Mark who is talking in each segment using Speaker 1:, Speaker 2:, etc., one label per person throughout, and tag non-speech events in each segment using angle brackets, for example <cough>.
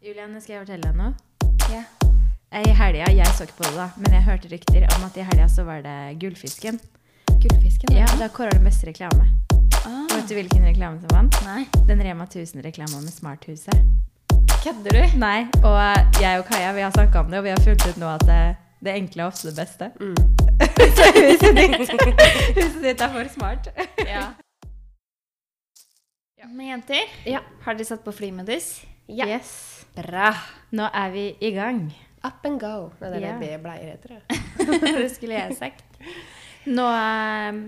Speaker 1: Juliane, skal jeg fortelle deg noe?
Speaker 2: Ja.
Speaker 1: I helga, jeg så ikke på det da, men jeg hørte rykter om at i helga så var det Gullfisken.
Speaker 2: Gullfisken?
Speaker 1: Ja, Da
Speaker 2: eller?
Speaker 1: kåra den beste reklame. Og
Speaker 2: Ah,
Speaker 1: Vet du hvilken reklame som vant?
Speaker 2: nei.
Speaker 1: Den Rema 1000-reklama med Smarthuset.
Speaker 2: Kødder du?
Speaker 1: Nei, og jeg og Kaja vi har snakka om det, og vi har funnet ut nå at det, det enkle er ofte det beste. <laughs> så huset ditt, huset ditt er for smart.
Speaker 2: Ja. Men jenter,
Speaker 1: Ja.
Speaker 2: har dere satt på flymodus?
Speaker 3: Ja.
Speaker 2: <laughs>
Speaker 1: Yes.
Speaker 3: Bra.
Speaker 1: Nå er vi i gang.
Speaker 3: Up and go. Nei, det er
Speaker 1: Ja.
Speaker 3: det bleier heter. Det.
Speaker 2: det skulle jeg sagt.
Speaker 1: Nå eh,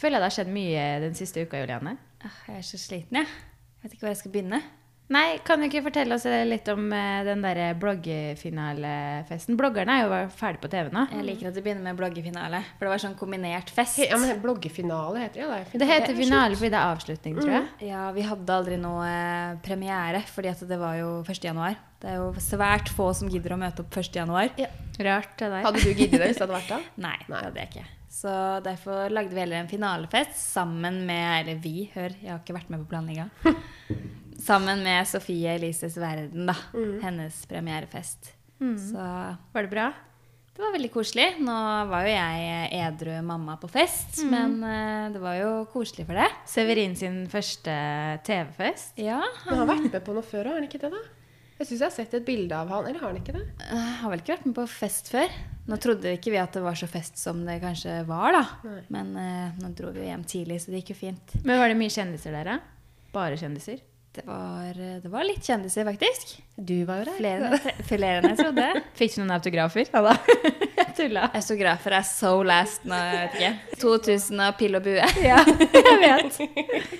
Speaker 1: føler jeg det har skjedd mye den siste uka, Juliane.
Speaker 2: Åh, Ah, jeg er så sliten, jeg. Jeg vet ikke hvor jeg skal begynne.
Speaker 1: Nei, kan du ikke fortelle oss litt om eh, den derre bloggfinalefesten? Bloggerne er jo ferdig på TV nå.
Speaker 2: Jeg liker at du begynner med bloggefinale, for det var sånn kombinert fest.
Speaker 3: He- Ja, men bloggefinale heter det jo. Det, er
Speaker 1: Det heter
Speaker 3: er
Speaker 1: finale fordi det er Mm, avslutning, tror jeg.
Speaker 2: Ja, vi hadde aldri noe eh, premiere, fordi at det var jo 1. januar. Det er jo svært få som gidder å møte opp 1. januar.
Speaker 1: Rart det
Speaker 3: sjukt.
Speaker 1: der.
Speaker 3: Hadde du giddet det hvis det hadde
Speaker 2: <laughs>
Speaker 3: vært det?
Speaker 2: Nei, det
Speaker 3: Nei.
Speaker 2: hadde jeg ikke. Så derfor lagde vi heller en finalefest sammen med Eller vi, hør, jeg har ikke vært med på planlegginga. sammen med Sofie Elises Verden, da. Hennes premierefest. Så
Speaker 1: Var det bra?
Speaker 2: det var veldig koselig. Nå var jo jeg edru mamma på fest, men eh, det var jo koselig for det.
Speaker 1: Severin sin første eh, TV-fest.
Speaker 2: Ja,
Speaker 3: Men han har vært med på noe før, har han ikke det? da? Jeg syns jeg har sett et bilde av han. Eller har han ikke det?
Speaker 2: Jeg eh, har vel ikke vært med på fest før. Nå trodde ikke vi at det var så fest som det kanskje var, da.
Speaker 3: Nei.
Speaker 2: Men eh, nå dro vi jo hjem tidlig, så det gikk jo fint.
Speaker 1: Men var det mye kjendiser der, da? Bare kjendiser?
Speaker 2: Det var, eh, det var litt kjendiser, faktisk.
Speaker 3: Du var jo der. <laughs>
Speaker 2: Flere enn jeg, flere enn jeg trodde.
Speaker 1: Fikk du noen autografer? Ja da. <laughs>
Speaker 2: <laughs>
Speaker 1: Jeg tulla.
Speaker 2: Autografer er so last nå, jeg vet ikke. 2000 og pill og bue.
Speaker 1: Ja, jeg vet.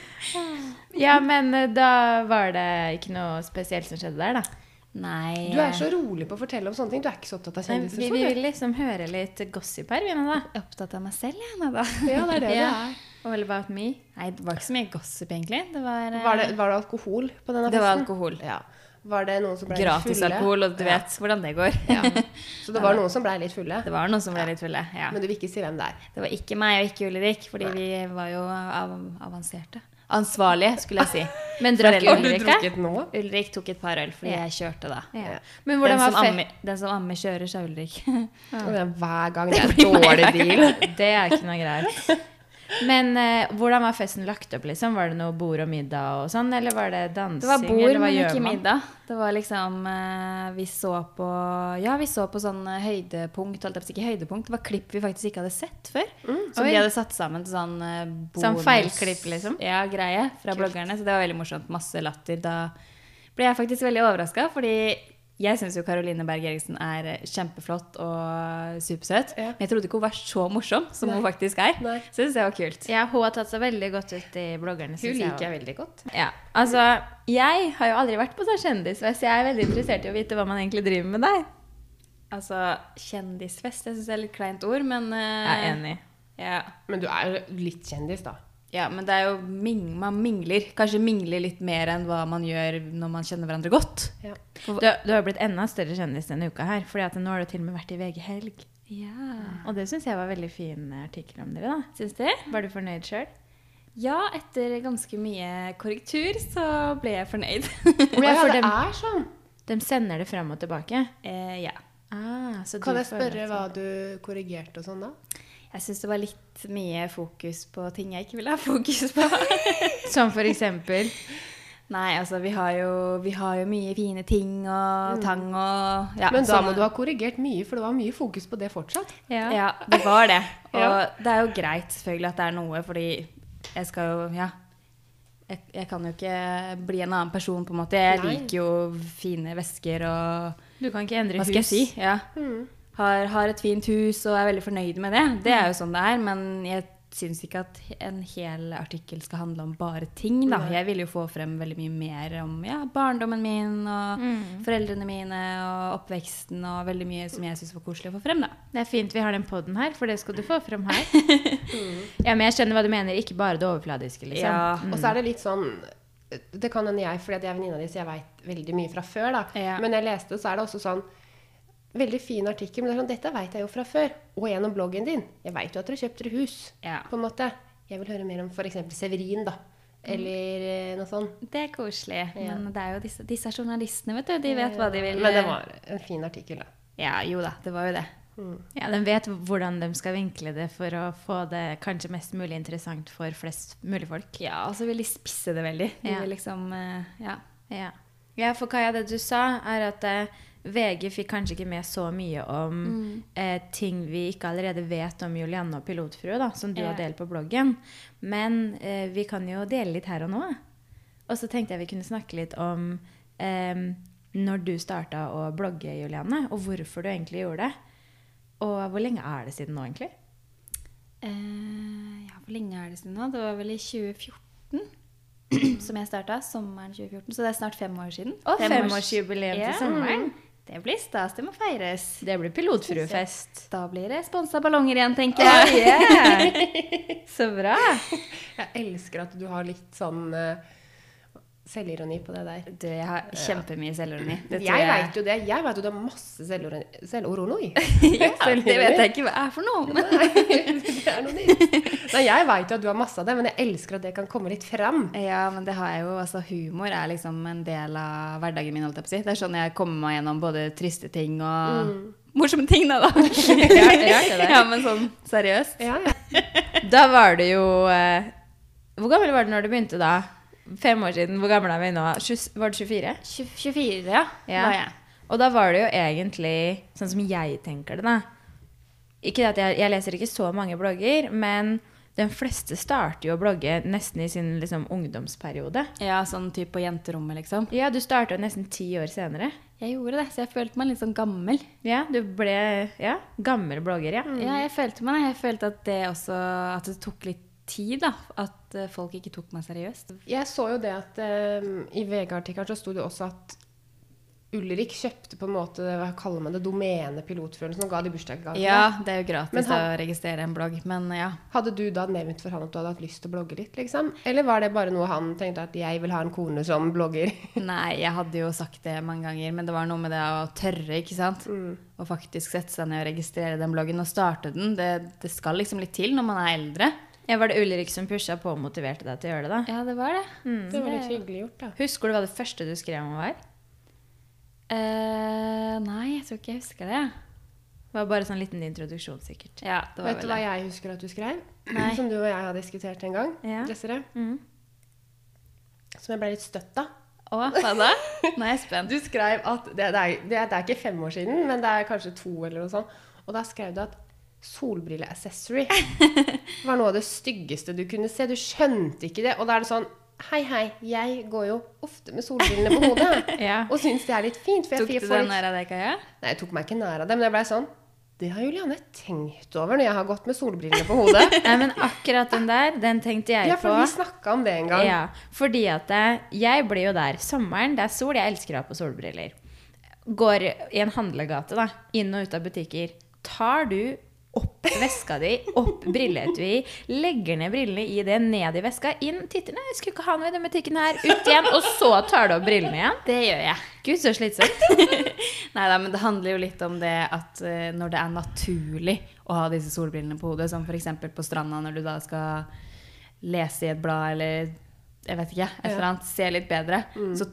Speaker 1: Ja, men eh, da var det ikke noe spesielt som skjedde der, da.
Speaker 2: <laughs> Nei.
Speaker 3: Du er så rolig på å fortelle om sånne ting. Du er ikke så opptatt av
Speaker 1: Nei,
Speaker 3: kjendiser.
Speaker 1: vi, vi vil liksom høre litt gossip her, vi nå, da.
Speaker 2: eh, opptatt av meg selv, jeg nå, da.
Speaker 3: Ja, det er det
Speaker 1: Ja.
Speaker 3: det er.
Speaker 1: All about me.
Speaker 2: Nei, det var ikke så mye gossip, egentlig. Det var, eh,
Speaker 3: Var det, var det alkohol på denne
Speaker 2: det var
Speaker 3: festen?
Speaker 2: alkohol.
Speaker 3: Ja. Var det noen som ble litt
Speaker 2: Gratis
Speaker 3: fulle?
Speaker 2: alkohol, og du
Speaker 3: Ja.
Speaker 2: vet hvordan det går.
Speaker 3: Så det var noen som ble litt fulle.
Speaker 2: <laughs> Det var noen som ble litt fulle. Ja.
Speaker 3: Men du vil ikke si hvem det er.
Speaker 2: Det var ikke meg og ikke Ulrik, fordi vi var jo av avanserte. Ansvarlige, skulle jeg si.
Speaker 3: <laughs>
Speaker 1: Men drakk
Speaker 2: Foreldre.
Speaker 3: Har du
Speaker 1: Ulrik, da?
Speaker 3: drukket nå?
Speaker 2: Ulrik tok et par øl fordi jeg kjørte da.
Speaker 1: Ja.
Speaker 3: Ja.
Speaker 1: Men
Speaker 2: Den
Speaker 1: hvordan
Speaker 2: som,
Speaker 1: var fe-
Speaker 2: ammer, den som ammer, kjører, sa Ulrik. <laughs>
Speaker 3: Og det er Hver gang det er
Speaker 2: blir meg
Speaker 3: dårlig
Speaker 2: hver
Speaker 3: deal.
Speaker 1: <laughs> Det er ikke noe greit. Men eh, hvordan var festen lagt opp? liksom? Var det noe bord og middag og sånn, eller var det dansing?
Speaker 2: Det var bord,
Speaker 1: eller hva
Speaker 2: men
Speaker 1: gjør
Speaker 2: ikke
Speaker 1: man?
Speaker 2: middag. Det var liksom eh, Vi så på Ja, vi så på sånn eh, høydepunkt, holdt jeg på å si, ikke høydepunkt. Det var klipp vi faktisk ikke hadde sett før. Som
Speaker 1: Mm. Oi.
Speaker 2: de hadde satt sammen til sånn eh, bonus
Speaker 1: Sånn feilklipp, liksom?
Speaker 2: Ja, greie fra bloggerne. Så det var veldig morsomt. Masse latter. Da ble jeg faktisk veldig overraska, fordi jeg syns jo Caroline Berg Eriksen er eh, kjempeflott og supersøt.
Speaker 3: Ja.
Speaker 2: Men jeg trodde ikke hun var så morsom som hun faktisk er.
Speaker 3: Nei.
Speaker 2: Så det syns jeg var kult.
Speaker 1: Ja, hun har tatt seg veldig godt ut i bloggerne.
Speaker 3: Hun
Speaker 1: synes
Speaker 3: liker
Speaker 1: jeg.
Speaker 3: jeg veldig godt.
Speaker 1: Ja, altså, Jeg har jo aldri vært på sånn kjendisfest. Jeg er veldig interessert i å vite hva man egentlig driver med der.
Speaker 2: Altså, kjendisfest, jeg syns det er litt kleint ord, men eh,
Speaker 1: Jeg er enig.
Speaker 2: Ja.
Speaker 3: Men du er litt kjendis, da.
Speaker 2: Ja, men det er jo ming man mingler. Kanskje mingler litt mer enn hva man gjør når man kjenner hverandre godt.
Speaker 1: Du, du har blitt enda større kjendis denne uka her. fordi at nå har du til og med vært i VG Helg.
Speaker 2: Ja.
Speaker 1: Og det syns jeg var veldig fin eh, artikkel om dere. da.
Speaker 2: Syns du?
Speaker 1: Var du fornøyd sjøl?
Speaker 2: Ja, etter ganske mye korrektur så ble jeg fornøyd. <laughs>
Speaker 3: Å ja,
Speaker 1: For
Speaker 3: det
Speaker 1: dem,
Speaker 3: er sånn.
Speaker 1: de sender det fram og tilbake.
Speaker 2: eh, ja.
Speaker 1: Ah, så
Speaker 3: Kan
Speaker 1: du
Speaker 3: jeg
Speaker 1: føler
Speaker 3: spørre
Speaker 1: at-
Speaker 3: hva
Speaker 2: sånn.
Speaker 3: du korrigerte og sånn da?
Speaker 2: Jeg syns det var litt mye fokus på ting jeg ikke ville ha fokus på. <laughs>
Speaker 1: Som for eksempel
Speaker 2: Nei, altså, vi har jo, vi har jo mye fine ting og tang og ja,
Speaker 3: Mm.
Speaker 2: sånn.
Speaker 3: Men da
Speaker 2: sånne-
Speaker 3: må du ha korrigert mye, for det var mye fokus på det fortsatt.
Speaker 2: Ja.
Speaker 1: <laughs> ja.
Speaker 2: det var det. Og
Speaker 3: Ja.
Speaker 2: det er jo greit selvfølgelig at det er noe, fordi jeg skal jo Ja. Jeg, jeg kan jo ikke bli en annen person, på en måte. Jeg
Speaker 3: Nei.
Speaker 2: liker jo fine vesker og
Speaker 1: Du kan ikke endre
Speaker 2: Hva
Speaker 1: hus.
Speaker 2: skal jeg si? Ja. Har, har et fint hus og er veldig fornøyd med det. Det er jo sånn det er, men jeg syns ikke at en hel artikkel skal handle om bare ting, da. Jeg vil jo få frem veldig mye mer om ja, barndommen min og foreldrene mine og oppveksten og veldig mye som jeg syns var koselig å få frem, da.
Speaker 1: Det er fint vi har den podden her, for det skal du få frem
Speaker 2: <laughs>
Speaker 1: her. Ja, men jeg skjønner hva du mener. Ikke bare det overfladiske, liksom.
Speaker 2: Mm. Ja.
Speaker 3: Og så er det litt sånn Det kan hende jeg, fordi at jeg er venninna di, så jeg veit veldig mye fra før, da.
Speaker 2: Ja.
Speaker 3: Men jeg leste, så er det også sånn Veldig fin artikkel, men det er sånn, dette veit jeg jo fra før. Og gjennom bloggen din. Jeg veit jo at dere kjøpte dere hus,
Speaker 2: Ja.
Speaker 3: på en måte. Jeg vil høre mer om f.eks. Severin, da. eller eh, noe sånt.
Speaker 2: Det er koselig.
Speaker 3: Ja.
Speaker 2: Men det er jo disse, disse er journalistene, vet du. De vet hva de vil. eh,
Speaker 3: Men det var en fin artikkel, da. Mm.
Speaker 2: Ja, jo da. Det var jo det.
Speaker 1: Ja, De vet hvordan de skal vinkle det for å få det kanskje mest mulig interessant for flest mulig folk.
Speaker 2: Ja, og så vil de spisse det veldig. De
Speaker 1: Ja.
Speaker 2: vil liksom eh, Ja.
Speaker 1: Ja, ja for Kaja, det du sa, er at eh, VG fikk kanskje ikke med så mye om
Speaker 2: Mm.
Speaker 1: eh, ting vi ikke allerede vet om Julianne og Pilotfrue, da, som du
Speaker 2: Ja.
Speaker 1: har delt på bloggen. Men eh, vi kan jo dele litt her og nå. Og så tenkte jeg vi kunne snakke litt om eh, når du starta å blogge, Julianne, og hvorfor du egentlig gjorde det. Og hvor lenge er det siden nå, egentlig?
Speaker 2: Eh, ja, hvor lenge er det siden nå? Det var vel i 2014 som jeg starta. Sommeren 2014. Så det er snart fem år siden.
Speaker 1: Og
Speaker 2: Femårs-
Speaker 1: femårsjubileum til
Speaker 2: Ja.
Speaker 1: sommeren.
Speaker 2: Det blir stas. Det må feires.
Speaker 1: Det blir pilotfruefest.
Speaker 2: Da blir det sponsa ballonger igjen, tenker
Speaker 1: Ja,
Speaker 2: jeg.
Speaker 1: yeah. <laughs> Så bra.
Speaker 3: Jeg elsker at du har litt sånn eh, selvironi på det der.
Speaker 2: <laughs> Du, jeg har kjempemye selvironi. Det tror
Speaker 3: jeg veit jo det. Jeg vet jo det er masse selvironi. selvironi.
Speaker 2: <laughs> ja, det vet jeg ikke hva er for noe, men <laughs>
Speaker 3: <laughs> det er noe nytt. Nei, jeg veit jo at du har masse av det, men jeg elsker at det kan komme litt fram.
Speaker 2: Ja, men det har jeg jo. Altså, humor er liksom en del av hverdagen min. holdt jeg på å si. Det er sånn jeg kommer meg gjennom både triste ting og
Speaker 3: Mm.
Speaker 2: morsomme ting, da. <laughs> da. ja, men sånn seriøst.
Speaker 3: Ja, ja.
Speaker 1: Da var det jo eh, Hvor gammel var du når du begynte, da? Fem år siden. Hvor gammel er vi nå? Tjue- Var du 24?
Speaker 2: 24, ja.
Speaker 1: Ja.
Speaker 2: var jeg.
Speaker 1: Og da var det jo egentlig sånn som jeg tenker det, da. Ikke det at jeg, jeg leser ikke så mange blogger, men de fleste starter jo å blogge nesten i sin liksom, ungdomsperiode.
Speaker 2: Ja, sånn type på jenterommet, liksom.
Speaker 1: Ja, du starta jo nesten ti år senere.
Speaker 2: Jeg gjorde det, så jeg følte meg litt sånn gammel.
Speaker 1: Ja, du ble ja, gammel blogger, ja.
Speaker 2: Ja, jeg følte meg det. Jeg følte at det også At det tok litt tid, da. At eh, folk ikke tok meg seriøst.
Speaker 3: Jeg så jo det at eh, i VG-artikkelen så sto det også at Ulrik kjøpte på en måte hva kaller man det, domenet pilotfuglen som ga de bursdagsgave.
Speaker 2: Ja, det er jo gratis
Speaker 3: Men han-
Speaker 2: å registrere en blogg, men ja.
Speaker 3: Hadde du da nevnt for han at du hadde hatt lyst til å blogge litt, liksom? Eller var det bare noe han tenkte at jeg vil ha en kone som
Speaker 2: <laughs>
Speaker 3: blogger?
Speaker 2: Nei, jeg hadde jo sagt det mange ganger, men det var noe med det å tørre, ikke sant? Å faktisk sette seg ned og registrere den bloggen og starte den. Det, det skal liksom litt til når man er eldre.
Speaker 1: Ja, Var det Ulrik som pusha på og motiverte deg til å gjøre det? da?
Speaker 2: Ja, det var det.
Speaker 3: Det var
Speaker 2: Mm.
Speaker 3: litt hyggelig gjort, da.
Speaker 1: Husker du hva det første du skrev om var?
Speaker 2: Eh, nei, jeg tror ikke jeg husker det.
Speaker 1: Det var bare sånn liten introduksjon, sikkert.
Speaker 2: Ja, det var
Speaker 3: Vet du
Speaker 2: vel
Speaker 3: hva
Speaker 2: det.
Speaker 3: jeg husker at du skrev?
Speaker 2: Nei.
Speaker 3: Som du og jeg har diskutert en gang,
Speaker 1: Ja.
Speaker 3: Dessere.
Speaker 1: Mm.
Speaker 3: Som jeg ble litt støtt av.
Speaker 2: Å, hva <laughs> da? Nå er jeg spent.
Speaker 3: Du skrev at det, det, er, det, er, det er ikke fem år siden, men det er kanskje to eller noe sånt. Og da skrev du at
Speaker 2: <laughs>
Speaker 3: solbrilleaccessory var noe av det styggeste du kunne se. Du skjønte ikke det. Og da er det sånn Hei, hei, jeg går jo ofte med solbrillene på
Speaker 2: <laughs>
Speaker 3: hodet.
Speaker 1: Ja.
Speaker 3: Og syns det er litt fint. For jeg
Speaker 2: Tok du
Speaker 3: får
Speaker 2: den
Speaker 3: litt-
Speaker 2: der av deg, Kaja?
Speaker 3: Nei, jeg tok meg ikke nær av det, men jeg blei sånn Det har Julianne tenkt over når jeg har gått med solbrillene på
Speaker 2: <laughs>
Speaker 3: hodet.
Speaker 1: Nei, men akkurat den der, den tenkte jeg
Speaker 3: Ja,
Speaker 1: på.
Speaker 3: for vi snakka om det en gang.
Speaker 1: Ja, fordi at eh, jeg blir jo der. Sommeren, det er sol. Jeg elsker å ha på solbriller. Går i en handlegate, da. Inn og ut av butikker. Tar du opp veska di, opp brilleetuiet, legger ned brillene i det, ned i veska, inn, titter Nei, jeg skulle ikke ha noe i den butikken her. Ut igjen. Og så tar du opp brillene igjen.
Speaker 2: Det gjør jeg.
Speaker 1: Gud, så slitsomt.
Speaker 2: Nei da, men det handler jo litt om det at eh, når det er naturlig å ha disse solbrillene på hodet, som f.eks. på stranda når du da skal lese i et blad eller jeg vet ikke, et eller annet, se litt bedre, så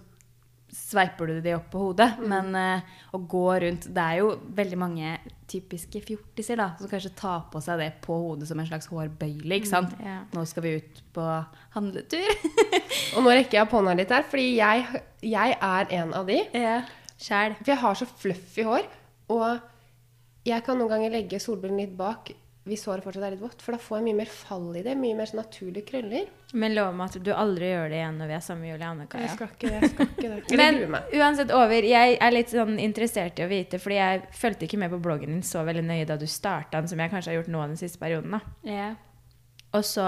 Speaker 2: sveiper du de opp på hodet. Men eh, å gå rundt Det er jo veldig mange typiske fjortiser da, som kanskje tar på seg det på hodet som en slags hårbøyle, ikke sant?
Speaker 1: ja.
Speaker 2: Nå skal vi ut på handletur. <laughs>
Speaker 3: Og nå rekker jeg opp hånda litt her, fordi jeg, jeg er en av de.
Speaker 2: ja.
Speaker 1: Sjæl.
Speaker 3: For jeg har så fluffy hår, og jeg kan noen ganger legge solbrillen litt bak hvis håret fortsatt er litt vått, for da får jeg mye mer fall i det. Mye mer sånn naturlige krøller.
Speaker 1: Men lov meg at du aldri gjør det igjen når vi er sammen med Julianne Kaja.
Speaker 3: Jeg skal ikke det. jeg skal ikke det. Eller
Speaker 1: <laughs> Men
Speaker 3: gruer meg.
Speaker 1: uansett over, jeg er litt sånn interessert i å vite, fordi jeg fulgte ikke med på bloggen din så veldig nøye da du starta den, som jeg kanskje har gjort nå den siste perioden. da.
Speaker 2: Ja.
Speaker 1: Og så,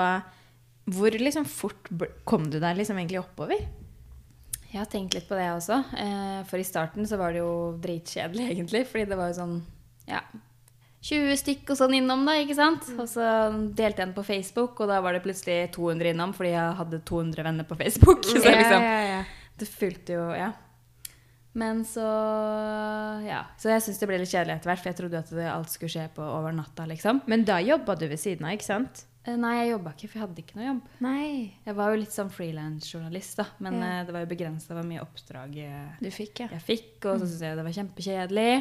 Speaker 1: hvor liksom fort bl- kom du deg liksom egentlig oppover?
Speaker 2: Jeg har tenkt litt på det også. Eh, For i starten så var det jo dritkjedelig, <laughs> egentlig. Fordi det var jo sånn ja, 20 stykk og sånn innom, da. ikke sant? Og så delte jeg den på Facebook, og da var det plutselig 200 innom fordi jeg hadde 200 venner på Facebook. <laughs> Så liksom, det fulgte jo Ja. Men så Ja. Så jeg syns det ble litt kjedelig etter hvert, for jeg trodde at det, alt skulle skje på over natta, liksom.
Speaker 1: Men da jobba du ved siden av, ikke sant?
Speaker 2: Eh, Nei, jeg jobba ikke, for jeg hadde ikke noe jobb.
Speaker 1: Nei.
Speaker 2: Jeg var jo litt sånn frilansjournalist, da, men
Speaker 1: Ja.
Speaker 2: eh, det var jo begrensa hvor mye oppdrag eh,
Speaker 1: Du fikk, ja.
Speaker 2: jeg fikk, og så syntes jeg det var kjempekjedelig.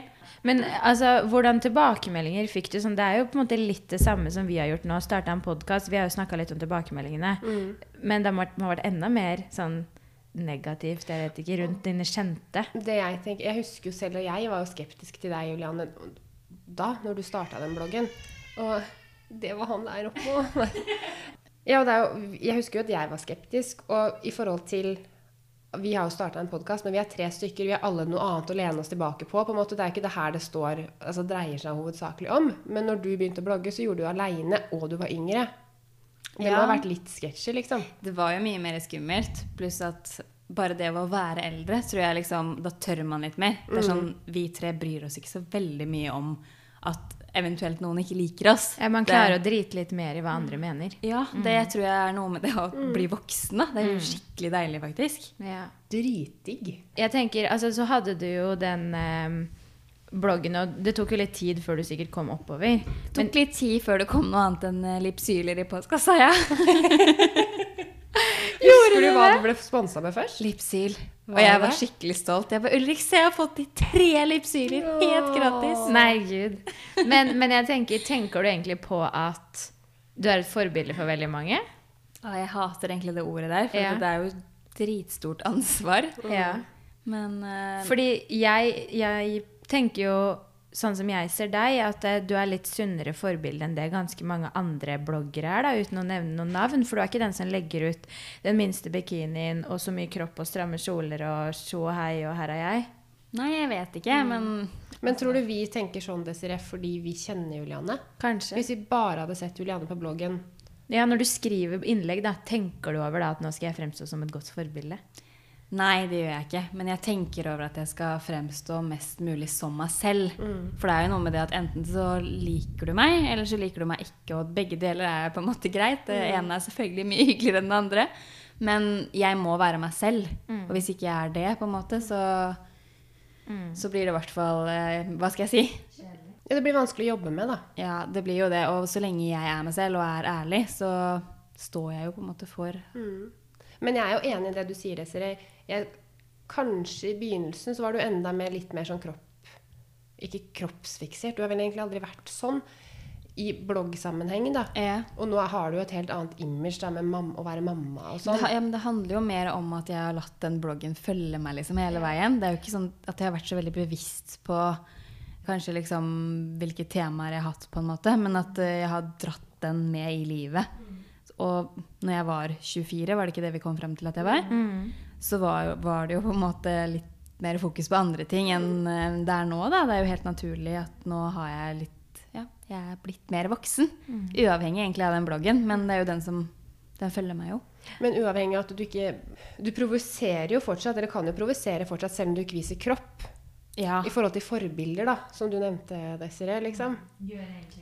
Speaker 1: Men altså, hvordan tilbakemeldinger fikk du? Sånn, det er jo på en måte litt det samme som vi har gjort nå. Starta en podkast. Vi har jo snakka litt om tilbakemeldingene. Men det har vært- har vært enda mer sånn negativt, jeg vet ikke, rundt dine kjente.
Speaker 3: Det jeg tenker, jeg husker jo selv, og jeg var jo skeptisk til deg, Julianne, da, når du starta den bloggen. Og det var han der oppe òg. <laughs> Ja, og det er jo, jeg husker jo at jeg var skeptisk, og i forhold til Vi har jo starta en podkast, men vi er tre stykker. Vi har alle noe annet å lene oss tilbake på. på en måte. Det er jo ikke det her det står, altså dreier seg hovedsakelig om. Men når du begynte å blogge, så gjorde du det aleine, og du var yngre. Det må
Speaker 2: Ja.
Speaker 3: ha vært litt sketsjy, liksom.
Speaker 2: Det var jo mye mer skummelt, pluss at bare det å være eldre, tror jeg liksom, da tør man litt mer. Det er sånn, Vi tre bryr oss ikke så veldig mye om at eventuelt noen ikke liker oss.
Speaker 1: Ja, man
Speaker 2: Det-
Speaker 1: klarer å drite litt mer i hva andre mener.
Speaker 2: Ja, det tror jeg er noe med det å bli voksen. da. Det er jo skikkelig deilig, faktisk.
Speaker 1: Ja.
Speaker 3: Dritdigg.
Speaker 1: Jeg tenker, altså så hadde du jo den eh, bloggen, og det tok jo litt tid før du sikkert kom oppover.
Speaker 2: Det tok litt tid før det kom noe annet enn eh, Lipsyler i postkassa, ja.
Speaker 3: Husker du hva du ble sponsa med først?
Speaker 2: <laughs> Lipsyl. Og
Speaker 3: Var
Speaker 2: jeg
Speaker 3: det
Speaker 2: var
Speaker 3: det?
Speaker 2: skikkelig stolt. Jeg bare Ulrik, se, jeg har fått de tre Lipsyler helt gratis.
Speaker 1: Nei, gud. Men, men jeg tenker, tenker du egentlig på at du er et forbilde for veldig mange?
Speaker 2: Å, jeg hater egentlig det ordet der, for
Speaker 1: Ja.
Speaker 2: det er jo dritstort ansvar.
Speaker 1: Ja.
Speaker 2: Men eh,
Speaker 1: Fordi jeg, jeg tenker jo, sånn som jeg ser deg, at eh, du er litt sunnere forbilde enn det ganske mange andre bloggere er, da, uten å nevne noen navn. For du er ikke den som legger ut den minste bikinien og så mye kropp og stramme kjoler og tjo og hei og her er jeg.
Speaker 2: Nei, jeg vet ikke, men
Speaker 3: Men tror du vi tenker sånn, Desiree, fordi vi kjenner Julianne?
Speaker 1: Kanskje.
Speaker 3: Hvis vi bare hadde sett Julianne på bloggen
Speaker 1: Ja, når du skriver innlegg, da, tenker du over da, at nå skal jeg fremstå som et godt forbilde?
Speaker 2: Nei, det gjør jeg ikke. Men jeg tenker over at jeg skal fremstå mest mulig som meg selv. For det er jo noe med det at enten så liker du meg, eller så liker du meg ikke. Og begge deler er på en måte greit. Det ene er selvfølgelig mye <laughs> hyggeligere enn det andre. Men jeg må være meg selv. Og hvis ikke jeg er det, på en måte, så, så blir det i hvert fall eh, Hva skal jeg si?
Speaker 3: ja, Det blir vanskelig å jobbe med, da.
Speaker 2: Ja, det blir jo det. Og så lenge jeg er meg selv og er ærlig, så står jeg jo på en måte for
Speaker 3: Men jeg er jo enig i det du sier, Desiree. Jeg- Kanskje i begynnelsen så var du enda mer, litt mer sånn kropp Ikke kroppsfiksert, du har vel egentlig aldri vært sånn i bloggsammenheng, da.
Speaker 2: ja.
Speaker 3: Og nå har du jo et helt annet image da, med mam å være mamma og
Speaker 2: Det,
Speaker 3: sånn.
Speaker 2: ha- ja, men det handler jo mer om at jeg har latt den bloggen følge meg liksom hele veien. Det er jo ikke sånn at jeg har vært så veldig bevisst på kanskje liksom hvilke temaer jeg har hatt, på en måte, men at eh, jeg har dratt den med i livet.
Speaker 3: Mm.
Speaker 2: Og når jeg var 24, var det ikke det vi kom frem til at jeg
Speaker 3: Mm.
Speaker 2: var,
Speaker 1: Mm.
Speaker 2: så var, jo- var det jo på en måte litt mer fokus på andre ting enn eh, det er nå. da. Det er jo helt naturlig at nå har jeg litt ja, jeg er blitt mer voksen.
Speaker 3: Mm.
Speaker 2: Uavhengig egentlig av den bloggen, men det er jo den som den følger meg jo.
Speaker 3: Men uavhengig av at du ikke Du provoserer jo fortsatt, eller kan jo provosere fortsatt, selv om du ikke viser kropp.
Speaker 2: Ja.
Speaker 3: I forhold til forbilder, da, som du nevnte, Desiree. Liksom.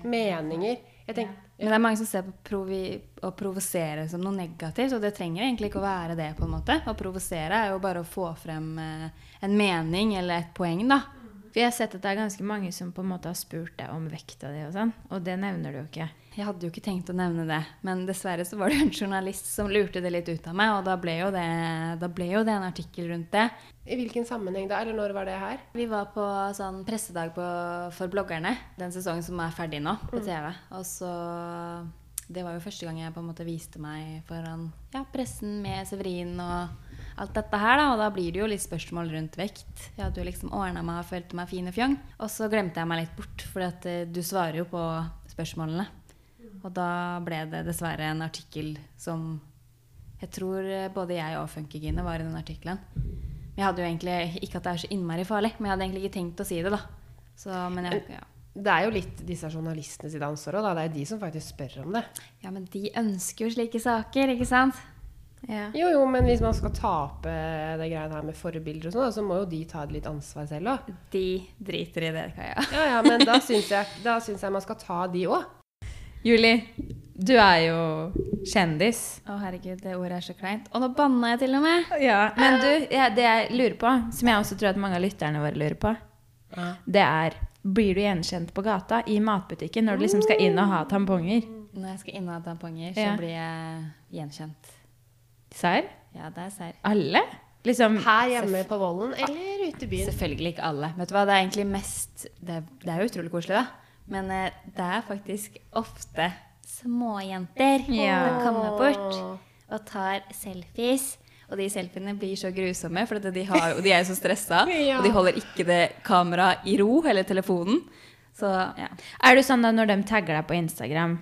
Speaker 3: Meninger. Jeg tenk,
Speaker 2: Men det er mange som ser på provi å provosere som noe negativt, og det trenger egentlig ikke å være det. på en måte. Å provosere er jo bare å få frem eh, en mening eller et poeng, da.
Speaker 1: For jeg har sett at det er ganske mange som på en måte har spurt deg om vekta di og sånn, og det nevner du jo ikke.
Speaker 2: Jeg hadde jo ikke tenkt å nevne det, men dessverre så var det jo en journalist som lurte det litt ut av meg, og da ble jo det, da ble jo det en artikkel rundt det.
Speaker 3: I hvilken sammenheng da? Eller når var det her?
Speaker 2: Vi var på sånn pressedag på, for bloggerne, den sesongen som er ferdig nå, på TV. Og så Det var jo første gang jeg på en måte viste meg foran ja, pressen med Severin og alt dette her, da. Og da blir det jo litt spørsmål rundt vekt. Jeg hadde jo liksom ordna meg og følte meg fin og fjong. Og så glemte jeg meg litt bort, for at eh, du svarer jo på spørsmålene. Og da ble det dessverre en artikkel som jeg tror eh, både jeg og Funkygine var i den artikkelen. Men jeg hadde jo egentlig ikke at det er så innmari farlig, men jeg hadde egentlig ikke tenkt å si det, da. Så, men jeg, ja.
Speaker 3: Det er jo litt disse journalistene sitt ansvar òg, da. Det er de som faktisk spør om det.
Speaker 2: ja, men de ønsker jo slike saker, ikke sant?
Speaker 1: Ja.
Speaker 3: Jo, jo, men hvis man skal tape det greiene her med forbilder og sånn, da, så må jo de ta litt ansvar selv òg.
Speaker 2: De driter i det, Kaja.
Speaker 3: Ja, ja, men da syns jeg, da syns jeg man skal ta de òg.
Speaker 1: Julie, du er jo kjendis.
Speaker 2: <laughs> Å herregud, det ordet er så kleint. Og nå banna jeg til og med!
Speaker 1: Ja, Men du, jeg, det jeg lurer på, som jeg også tror at mange av lytterne våre lurer på, det er blir du gjenkjent på gata i matbutikken når du liksom skal inn og ha tamponger?
Speaker 2: Når jeg skal inn og ha tamponger, så
Speaker 1: Ja.
Speaker 2: blir jeg gjenkjent.
Speaker 1: Serr?
Speaker 2: Ja, det er serr.
Speaker 1: Alle? Liksom
Speaker 3: Her hjemme på Vollen eller ute i byen.
Speaker 2: Selvfølgelig ikke alle. Vet du hva, det er egentlig mest Det er, det er jo utrolig koselig, da. Men eh, det er faktisk ofte småjenter
Speaker 1: Ja.
Speaker 2: som kommer bort og tar selfies. Og de selfiene blir så grusomme, for at de, har, og de er jo så stressa. <laughs>
Speaker 3: Ja.
Speaker 2: Og de holder ikke det kameraet i ro, eller telefonen. Så ja.
Speaker 1: Er du sånn da når de tagger deg på Instagram,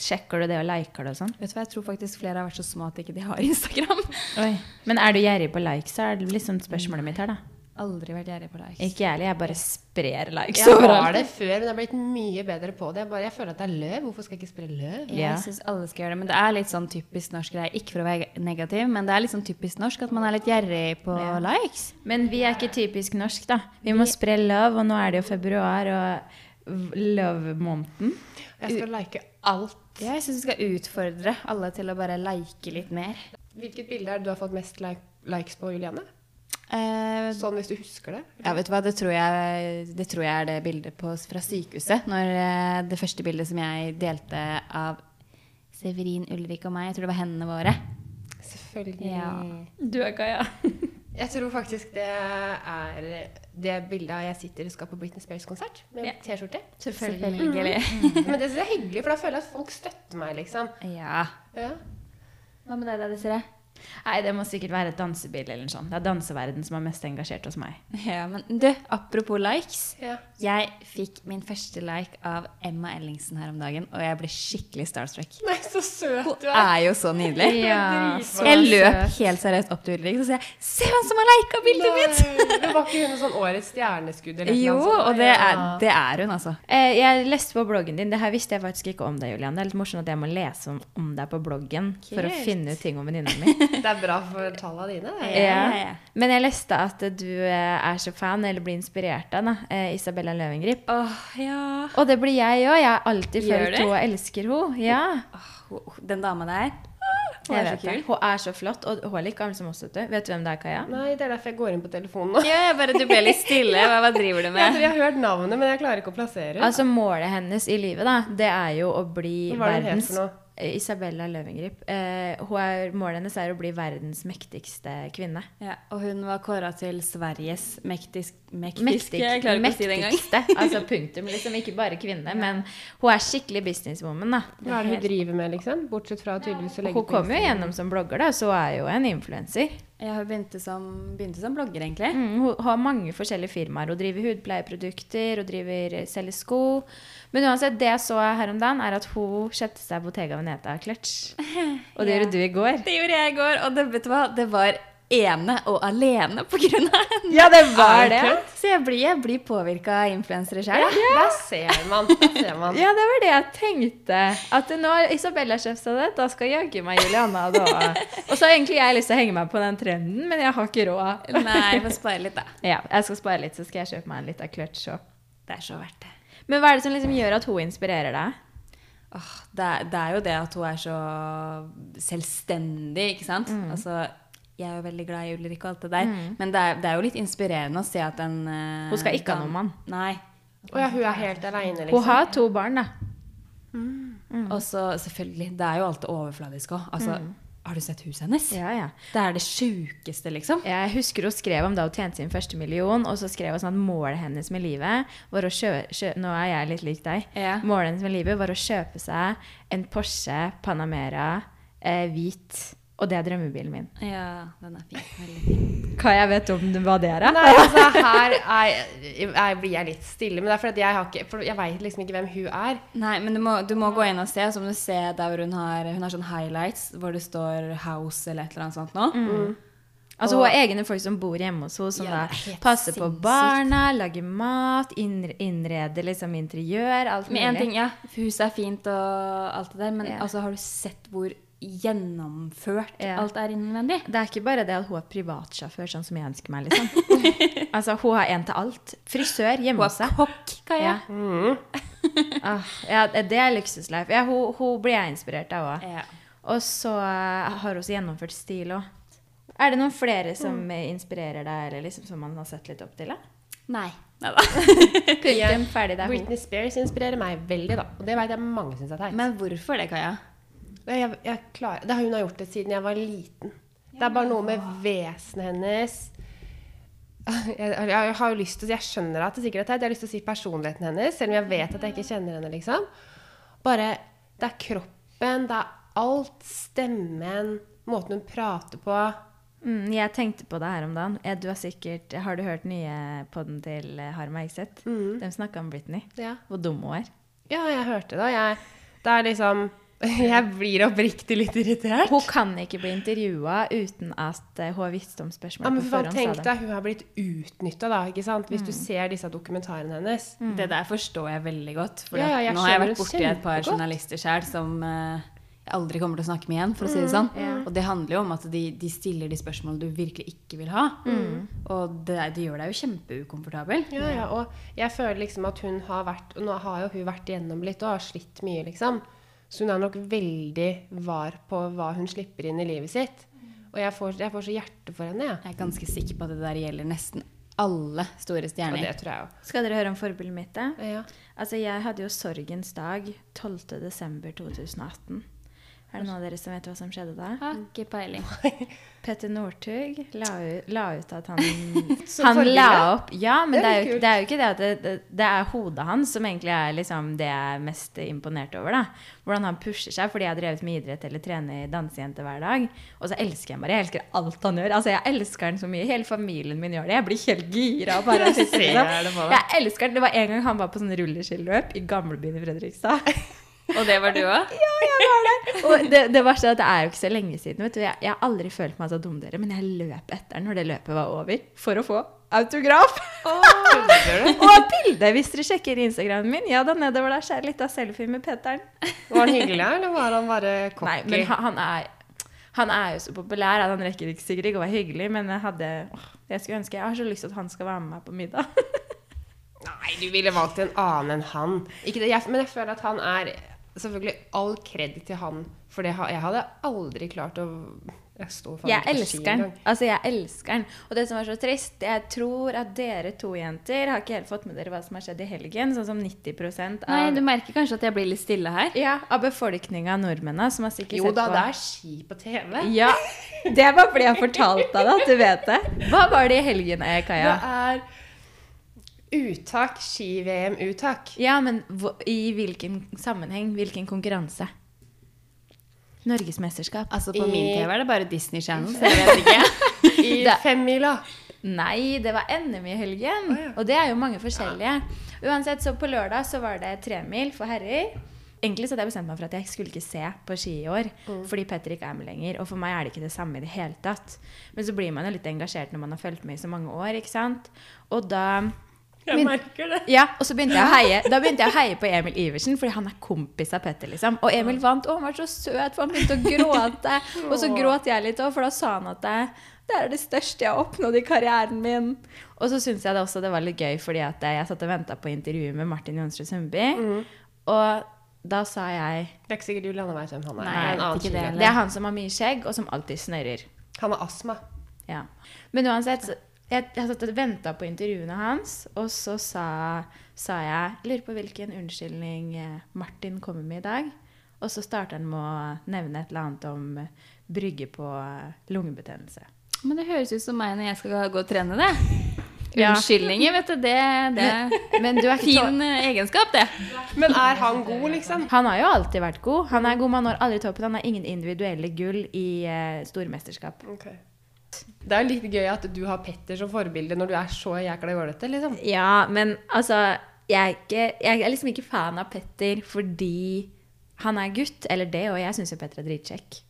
Speaker 1: sjekker du det og liker det og sånn?
Speaker 2: Vet du hva, Jeg tror faktisk flere har vært så små at ikke de har Instagram.
Speaker 1: Men er du gjerrig på likes? Er det liksom spørsmålet mitt her, da?
Speaker 2: Aldri vært gjerrig på likes.
Speaker 1: Ikke jeg heller, jeg bare sprer likes
Speaker 3: Jeg var
Speaker 1: overalt.
Speaker 3: det før, men jeg har blitt mye bedre på det. Jeg, bare, jeg føler at det er løv. Hvorfor skal jeg ikke spille løv?
Speaker 1: Ja.
Speaker 2: Jeg syns alle skal gjøre det, men det er litt sånn typisk norsk greie. Ikke for å være negativ, men det er litt sånn typisk norsk at man er litt gjerrig på
Speaker 1: Ja.
Speaker 2: likes.
Speaker 1: Men vi er ikke typisk norsk, da. Vi må spre love, og nå er det jo februar og v- love-måneden.
Speaker 3: Jeg skal like alt.
Speaker 2: Ja, jeg syns vi skal utfordre alle til å bare like litt mer.
Speaker 3: Hvilket bilde er det du har fått mest like, likes på, Juliane?
Speaker 2: Eh,
Speaker 3: Sånn hvis du husker det.
Speaker 2: ja, vet du hva, det tror jeg, det tror jeg er det bildet på, fra sykehuset. Når eh, det første bildet som jeg delte av Severin Ulrik og meg, jeg tror det var hendene våre.
Speaker 3: Selvfølgelig.
Speaker 2: Ja.
Speaker 1: Du og Kaja.
Speaker 3: Jeg tror faktisk det er det bildet av jeg sitter og skal på Britney Spears-konsert med
Speaker 1: Ja.
Speaker 2: <laughs>
Speaker 3: T-skjorte.
Speaker 2: Selvfølgelig.
Speaker 3: Men det synes jeg er hyggelig, for da føler jeg at folk støtter meg, liksom.
Speaker 2: Ja.
Speaker 3: Ja.
Speaker 2: Mm. Hva med deg da, Desiree?
Speaker 1: <laughs> Nei, det må sikkert være et dansebilde eller noe sånt. Det er danseverden som er mest engasjert hos meg.
Speaker 2: Ja, men du, apropos likes.
Speaker 3: Ja.
Speaker 2: Jeg fikk min første like av Emma Ellingsen her om dagen, og jeg ble skikkelig starstruck.
Speaker 3: Nei, så søt
Speaker 2: Hun
Speaker 3: du er.
Speaker 2: er jo så nydelig.
Speaker 1: Ja,
Speaker 3: så
Speaker 2: Jeg løp helt seriøst opp til Ulrik og sa jeg, 'Se hvem som har lika bildet mitt!'
Speaker 3: Nei, men Var ikke hun en sånn årets stjerneskudd eller
Speaker 2: Jo,
Speaker 3: noe sånt?
Speaker 2: og det er,
Speaker 3: Ja.
Speaker 2: det er hun, altså.
Speaker 1: Eh, Jeg leste på bloggen din. Det her visste jeg faktisk ikke om deg, Julian. Det er litt morsomt at jeg må lese om, om deg på bloggen for å
Speaker 2: Kult.
Speaker 1: finne ut ting om venninna mi.
Speaker 3: det er bra for tallene dine. Det.
Speaker 2: Ja, ja, ja.
Speaker 1: Men jeg leste at du eh, er så fan, eller blir inspirert av, da, eh, Isabella Løvengrip.
Speaker 2: Åh, ja.
Speaker 1: Og det blir jeg òg. Jeg har alltid
Speaker 2: Gjør
Speaker 1: følt
Speaker 2: det?
Speaker 1: henne og elsker henne. Ja.
Speaker 2: Åh, hun- hun- den dama der. Hun
Speaker 1: Jeg
Speaker 2: er
Speaker 1: vet
Speaker 2: så kul.
Speaker 1: det. Hun er så flott, og hun er like gammel som oss. Vet du Vet du hvem det er, Kaja?
Speaker 3: Nei, det er derfor jeg går inn på telefonen nå. <laughs>
Speaker 2: Ja, jeg bare, du ble litt stille. Hva, hva driver du
Speaker 3: Jeg tror
Speaker 2: med?
Speaker 3: jeg har hørt navnet, men jeg klarer ikke å plassere henne.
Speaker 1: Altså Målet hennes i livet da, det er jo å bli
Speaker 3: Hva var det hun het
Speaker 1: verdens
Speaker 3: for noe?
Speaker 1: Eh, Isabella Løvengrip. Eh, hun er, målet hennes er å bli verdens mektigste kvinne.
Speaker 2: Ja, og hun var kåra til Sveriges mektisk... Mektisk?
Speaker 1: Mektig,
Speaker 2: jeg klarer ikke å si det engang.
Speaker 1: mektigste. altså punktum. Liksom ikke bare kvinne, men hun er skikkelig businesswoman. da.
Speaker 3: Hva er det hun driver med, liksom? Bortsett fra tydeligvis å
Speaker 1: Og
Speaker 3: legge
Speaker 1: Hun kom jo gjennom som blogger, da, så hun er jo en influenser.
Speaker 2: Ja, hun begynte som, begynte som blogger, egentlig.
Speaker 1: Mm, hun har mange forskjellige firmaer. Hun driver hudpleieprodukter, hun driver eh, selger sko. Men uansett, det jeg så her om dagen, er at hun kjøpte seg Bottega Veneta <laughs> Clutch. Og det
Speaker 2: Ja.
Speaker 1: gjorde du i går.
Speaker 2: Det gjorde jeg i går, og det, vet du hva? det var ene og alene på grunn av henne.
Speaker 1: Ja, det
Speaker 3: var det.
Speaker 2: Så jeg blir, jeg blir påvirka av influensere sjøl.
Speaker 3: Der ser man. Der ser
Speaker 1: <laughs>
Speaker 3: man.
Speaker 1: Ja, det var det jeg tenkte. At nå har Isabella kjøpt seg det, da skal jaggu meg Juliana da. <laughs> Og så har egentlig jeg lyst til å henge meg på den trenden, men jeg har ikke råd.
Speaker 2: Nei, vi får spare litt, da.
Speaker 1: Ja, jeg skal spare litt, så skal jeg kjøpe meg en liten clutch òg.
Speaker 2: Det er så verdt det.
Speaker 1: Men hva er det som liksom gjør at hun inspirerer deg?
Speaker 2: Åh, det, er, det er jo det at hun er så selvstendig, ikke sant?
Speaker 1: Mm.
Speaker 2: Altså, jeg er jo veldig glad i Ulrik og alt det der, men det er, det er jo litt inspirerende å se at en eh,
Speaker 1: Hun skal ikke ha noen
Speaker 2: dam-
Speaker 1: mann.
Speaker 2: Nei.
Speaker 3: Å ja, hun er helt aleine,
Speaker 1: Hun
Speaker 3: liksom.
Speaker 1: har to barn, da. Mm.
Speaker 2: Og så selvfølgelig, det er jo alltid overfladisk òg. Altså, har du sett huset hennes?
Speaker 1: Ja, ja.
Speaker 2: Det er det sjukeste, liksom.
Speaker 1: Jeg husker hun skrev om da hun tjente sin første million, og så skrev hun sånn at målet hennes med livet var å kjø kjø Nå er jeg litt lik deg.
Speaker 2: Ja.
Speaker 1: Målet hennes med livet var å kjøpe seg en Porsche Panamera eh, hvit. Og det er drømmebilen min.
Speaker 2: Ja, den er fin. Veldig fin.
Speaker 1: Hva jeg vet om hva det er, da?
Speaker 3: Nei, altså, her er, jeg blir jeg litt stille. Men det er fordi at jeg, har ikke, for jeg vet liksom ikke hvem hun er.
Speaker 2: Nei, men du må, du må gå inn og se. Som du ser der hvor hun har, hun har sånn highlights hvor det står 'House' eller et eller annet sånt nå.
Speaker 1: Altså, hun har egne folk som bor hjemme hos henne, som
Speaker 2: Ja, det er
Speaker 1: da
Speaker 2: helt
Speaker 1: passer på
Speaker 2: sinnssykt.
Speaker 1: barna, lager mat, innre- innreder liksom interiør, alt
Speaker 2: Men en
Speaker 1: mulig.
Speaker 2: ting, ja, Huset er fint og alt det der, men
Speaker 1: Ja.
Speaker 2: altså, har du sett hvor gjennomført
Speaker 1: Ja.
Speaker 2: alt er innvendig?
Speaker 1: Det er ikke bare det at hun er privatsjåfør, sånn som jeg ønsker meg. liksom.
Speaker 2: <laughs>
Speaker 1: altså, Hun har en til alt. Frisør
Speaker 2: Hun
Speaker 1: hjemme hos
Speaker 2: er
Speaker 1: seg.
Speaker 2: kokk, Kaja.
Speaker 1: Ja. <laughs> Ah, ja, det er luksuslife. Ja, hun, hun blir jeg inspirert av òg.
Speaker 2: Ja.
Speaker 1: Og så eh, har hun også gjennomført
Speaker 2: Mm. <laughs>
Speaker 1: stil òg. Er det noen flere som eh, inspirerer deg, eller liksom som man har sett litt opp til? Da?
Speaker 2: Nei. Neida.
Speaker 1: Punktum, ferdig, det er ho.
Speaker 3: Britney Spears inspirerer meg veldig, da. Og det vet jeg mange syns er teit.
Speaker 2: Men hvorfor det, Kaja?
Speaker 3: Nei, Jeg, jeg klarer, det har hun har gjort det siden jeg var liten. Det er bare noe med vesenet hennes jeg, jeg har jo lyst til å si, jeg skjønner at det sikkert er teit, jeg har lyst til å si personligheten hennes, selv om jeg vet at jeg ikke kjenner henne, liksom. Bare Det er kroppen, det er alt. Stemmen, måten hun prater på.
Speaker 1: Mm, jeg tenkte på det her om dagen. Eh, Du har sikkert Har du hørt nye podden til eh, Harma Ekseth? De snakka om Britney.
Speaker 3: Ja.
Speaker 1: Hvor dum hun er.
Speaker 3: Ja, jeg hørte det. og Jeg, det er liksom <laughs> Jeg blir oppriktig litt irritert.
Speaker 1: Hun kan ikke bli intervjua uten at eh, hun har visst om
Speaker 3: Ja,
Speaker 1: spørsmålet
Speaker 3: men
Speaker 1: på
Speaker 3: for
Speaker 1: forhånd. sa Mm.
Speaker 3: faen, tenk
Speaker 1: de.
Speaker 3: deg, hun har blitt utnytta, da, ikke sant? Hvis du ser disse dokumentarene hennes.
Speaker 2: Det der forstår jeg veldig godt. For
Speaker 3: Ja, ja, jeg
Speaker 2: at nå har Mm. jeg
Speaker 3: skjønner
Speaker 2: vært borti et par
Speaker 3: kjempegodt.
Speaker 2: journalister sjøl som eh, jeg aldri kommer til å snakke med igjen, for å si det sånn. Og det handler jo om at de, de stiller de spørsmålene du virkelig ikke vil ha. Og det, det gjør deg jo kjempeukomfortabel.
Speaker 3: Ja, ja, og jeg føler liksom at hun har vært Og nå har jo hun vært igjennom litt og har slitt mye, liksom. Så hun er nok veldig var på hva hun slipper inn i livet sitt. Og jeg får, jeg får så hjerte for henne, jeg.
Speaker 2: Jeg er ganske sikker på at det der gjelder nesten alle store
Speaker 3: Ja. Og
Speaker 2: stjerner.
Speaker 3: det tror jeg jo.
Speaker 1: Skal dere høre om forbildet mitt? da?
Speaker 3: Ja.
Speaker 1: Altså, jeg hadde jo sorgens dag 12.12.2018. Er det noen av dere som vet hva som skjedde da?
Speaker 2: Har ikke peiling.
Speaker 1: Petter Northug la, u- la ut at han
Speaker 3: <laughs> Som
Speaker 1: Han
Speaker 3: forbilde?
Speaker 1: la opp Ja, men
Speaker 3: Det
Speaker 1: det
Speaker 3: er
Speaker 1: er
Speaker 3: litt
Speaker 1: jo,
Speaker 3: kult.
Speaker 1: det er jo ikke det at det, det, det er hodet hans som egentlig er liksom det jeg er mest imponert over. da. Hvordan han pusher seg, fordi jeg har drevet med idrett eller trener dansejente hver dag. Og så elsker jeg Marie. Jeg elsker alt han gjør. Altså, Jeg elsker han så mye. Hele familien min gjør det. Jeg blir helt gira. og
Speaker 3: <laughs>
Speaker 1: bare sitter
Speaker 3: Ser
Speaker 1: liksom.
Speaker 3: jeg det på deg.
Speaker 1: Jeg elsker han. Det var en gang han var på sånn rulleskiløp i gamlebyen i Fredrikstad.
Speaker 2: Og det var du òg?
Speaker 1: Ja, jeg var der. <laughs> Og det, det verste er at det er jo ikke så lenge siden. Vet du. Jeg, jeg har aldri følt meg så dum, dere, men jeg løp etter den når det løpet var over, for å få autograf. <laughs> Og bilde, hvis dere sjekker Instagramen min. Ja da, nedover der så er det litt av selfie med Petteren.
Speaker 3: Var han hyggelig, eller var han bare cocky?
Speaker 1: Nei, men han, han er han er jo så populær. at Han rekker ikke sikkert ikke å være hyggelig, men jeg hadde åh, Jeg skulle ønske Jeg har så lyst til at han skal være med meg på middag. <laughs>
Speaker 3: Nei, du ville valgt en annen enn han. Ikke det, jeg, men jeg føler at han er Selvfølgelig all kred til han, for det, ha- jeg hadde aldri klart å Jeg står faen
Speaker 1: Jeg
Speaker 3: ikke på ski
Speaker 1: elsker den.
Speaker 3: engang.
Speaker 1: Altså, jeg elsker den. Og det som er så trist, jeg tror at dere to jenter har ikke helt fått med dere hva som har skjedd i helgen. Sånn som 90
Speaker 2: Nei,
Speaker 1: av
Speaker 2: du merker kanskje at jeg blir litt stille her.
Speaker 1: Ja, av befolkninga av nordmennene som har sikkert
Speaker 3: Jo
Speaker 1: sett
Speaker 3: da,
Speaker 1: på.
Speaker 3: det er ski på TV.
Speaker 1: Ja, Det var fordi jeg fortalte deg det, at du vet det. Hva var det i helgen, eh, Kaja?
Speaker 3: Det er uttak, ski-VM-uttak.
Speaker 2: <laughs>
Speaker 1: Ja, men hvo- i hvilken sammenheng? Hvilken konkurranse? Norgesmesterskap?
Speaker 2: Altså På
Speaker 3: I-
Speaker 2: min TV er det bare Disney Channel, så jeg vet ikke.
Speaker 3: I
Speaker 1: Det-
Speaker 3: femmila.
Speaker 1: Nei, det var NM i helgen.
Speaker 3: Å, ja.
Speaker 1: Og det er jo mange forskjellige. Uansett, så på lørdag så var det tremil for herrer. Egentlig så hadde jeg bestemt meg for at jeg skulle ikke se på ski i år.
Speaker 3: Mm.
Speaker 1: Fordi Petter ikke er med lenger. Og for meg er det ikke det samme i det hele tatt. Men så blir man jo litt engasjert når man har fulgt med i så mange år, ikke sant. Og da
Speaker 3: Jeg merker det.
Speaker 1: Ja, og så begynte jeg å heie Da begynte jeg å heie på Emil Iversen, fordi han er kompis av Petter. liksom Og Emil vant, og han var så søt, for han begynte å gråte. Og så gråt jeg litt òg, for da sa han at det, det er det største jeg har oppnådd i karrieren min. Og så syns jeg det også det var litt gøy, fordi at eh, jeg satt og venta på intervjuet med Martin Jonsrud Sundby. Og da sa jeg
Speaker 3: Det er ikke sikkert Julianne vet hvem han er.
Speaker 2: Nei,
Speaker 3: Det er en
Speaker 2: jeg vet
Speaker 3: annen
Speaker 2: ikke det
Speaker 3: skiver.
Speaker 1: Det er han som har mye skjegg, og som alltid snørrer.
Speaker 3: Han har astma.
Speaker 1: Ja. Men uansett, så- jeg, jeg satt og venta på intervjuene hans, og så sa, sa jeg Lurer på hvilken unnskyldning eh, Martin kommer med i dag. Og så starter han med å nevne et eller annet om eh, brygge på eh, lungebetennelse.
Speaker 2: Men det høres ut som meg når jeg skal gå og trene, det.
Speaker 1: Ja.
Speaker 2: Unnskyldninger, vet du. Det, det <laughs>
Speaker 1: Men du er ikke tå-
Speaker 2: Fin eh, egenskap, det.
Speaker 3: Men er <laughs> han god, liksom?
Speaker 1: Han har jo alltid vært god. Han er god, man når aldri toppen. Han har ingen individuelle gull i eh, stormesterskap.
Speaker 3: Det er jo litt gøy at du har Petter som forbilde når du er så jækla jålete, liksom.
Speaker 1: Ja, men altså jeg er, ikke, jeg er liksom ikke fan av Petter fordi han er gutt, eller det, og jeg syns jo Petter er dritkjekk.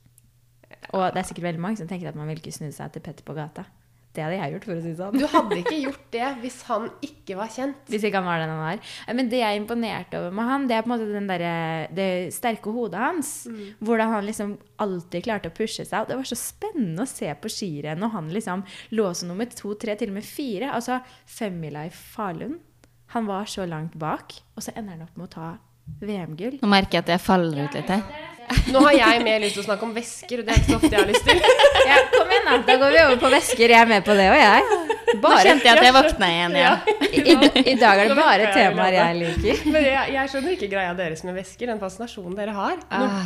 Speaker 1: Og det er sikkert veldig mange som tenker at man vil ikke snu seg til Petter på gata. Det hadde jeg gjort, for å si det sånn.
Speaker 3: Du hadde ikke gjort det hvis han ikke var kjent.
Speaker 1: Hvis ikke han var den han var. Eh, Men det jeg er imponert over med han, det er på en måte den derre- det sterke hodet hans. Hvordan han liksom alltid klarte å pushe seg. Og det var så spennende å se på skirenn, og han liksom lå som nummer to, tre, til og med fire. Altså femmila i Falun. Han var så langt bak, og så ender han opp med å ta VM-gull.
Speaker 2: Nå merker jeg at jeg faller ut litt her.
Speaker 3: Nå har jeg mer lyst til å snakke om vesker, og det er ikke så ofte jeg har
Speaker 2: <laughs>
Speaker 3: lyst til.
Speaker 1: <laughs> Ja, kom igjen, da. Da går vi over på vesker. Jeg er med på det, og jeg.
Speaker 2: Nå
Speaker 1: Bare,
Speaker 2: kjente jeg at <laughs> jeg våkna igjen. Ja.
Speaker 3: <laughs>
Speaker 1: i, i- I dag er det bare
Speaker 3: Nå vet jeg
Speaker 1: temaer
Speaker 3: hva
Speaker 1: jeg
Speaker 3: jeg
Speaker 1: liker.
Speaker 3: Men jeg, jeg skjønner ikke greia deres med vesker, den fascinasjonen dere har.
Speaker 2: Ah.
Speaker 3: Når,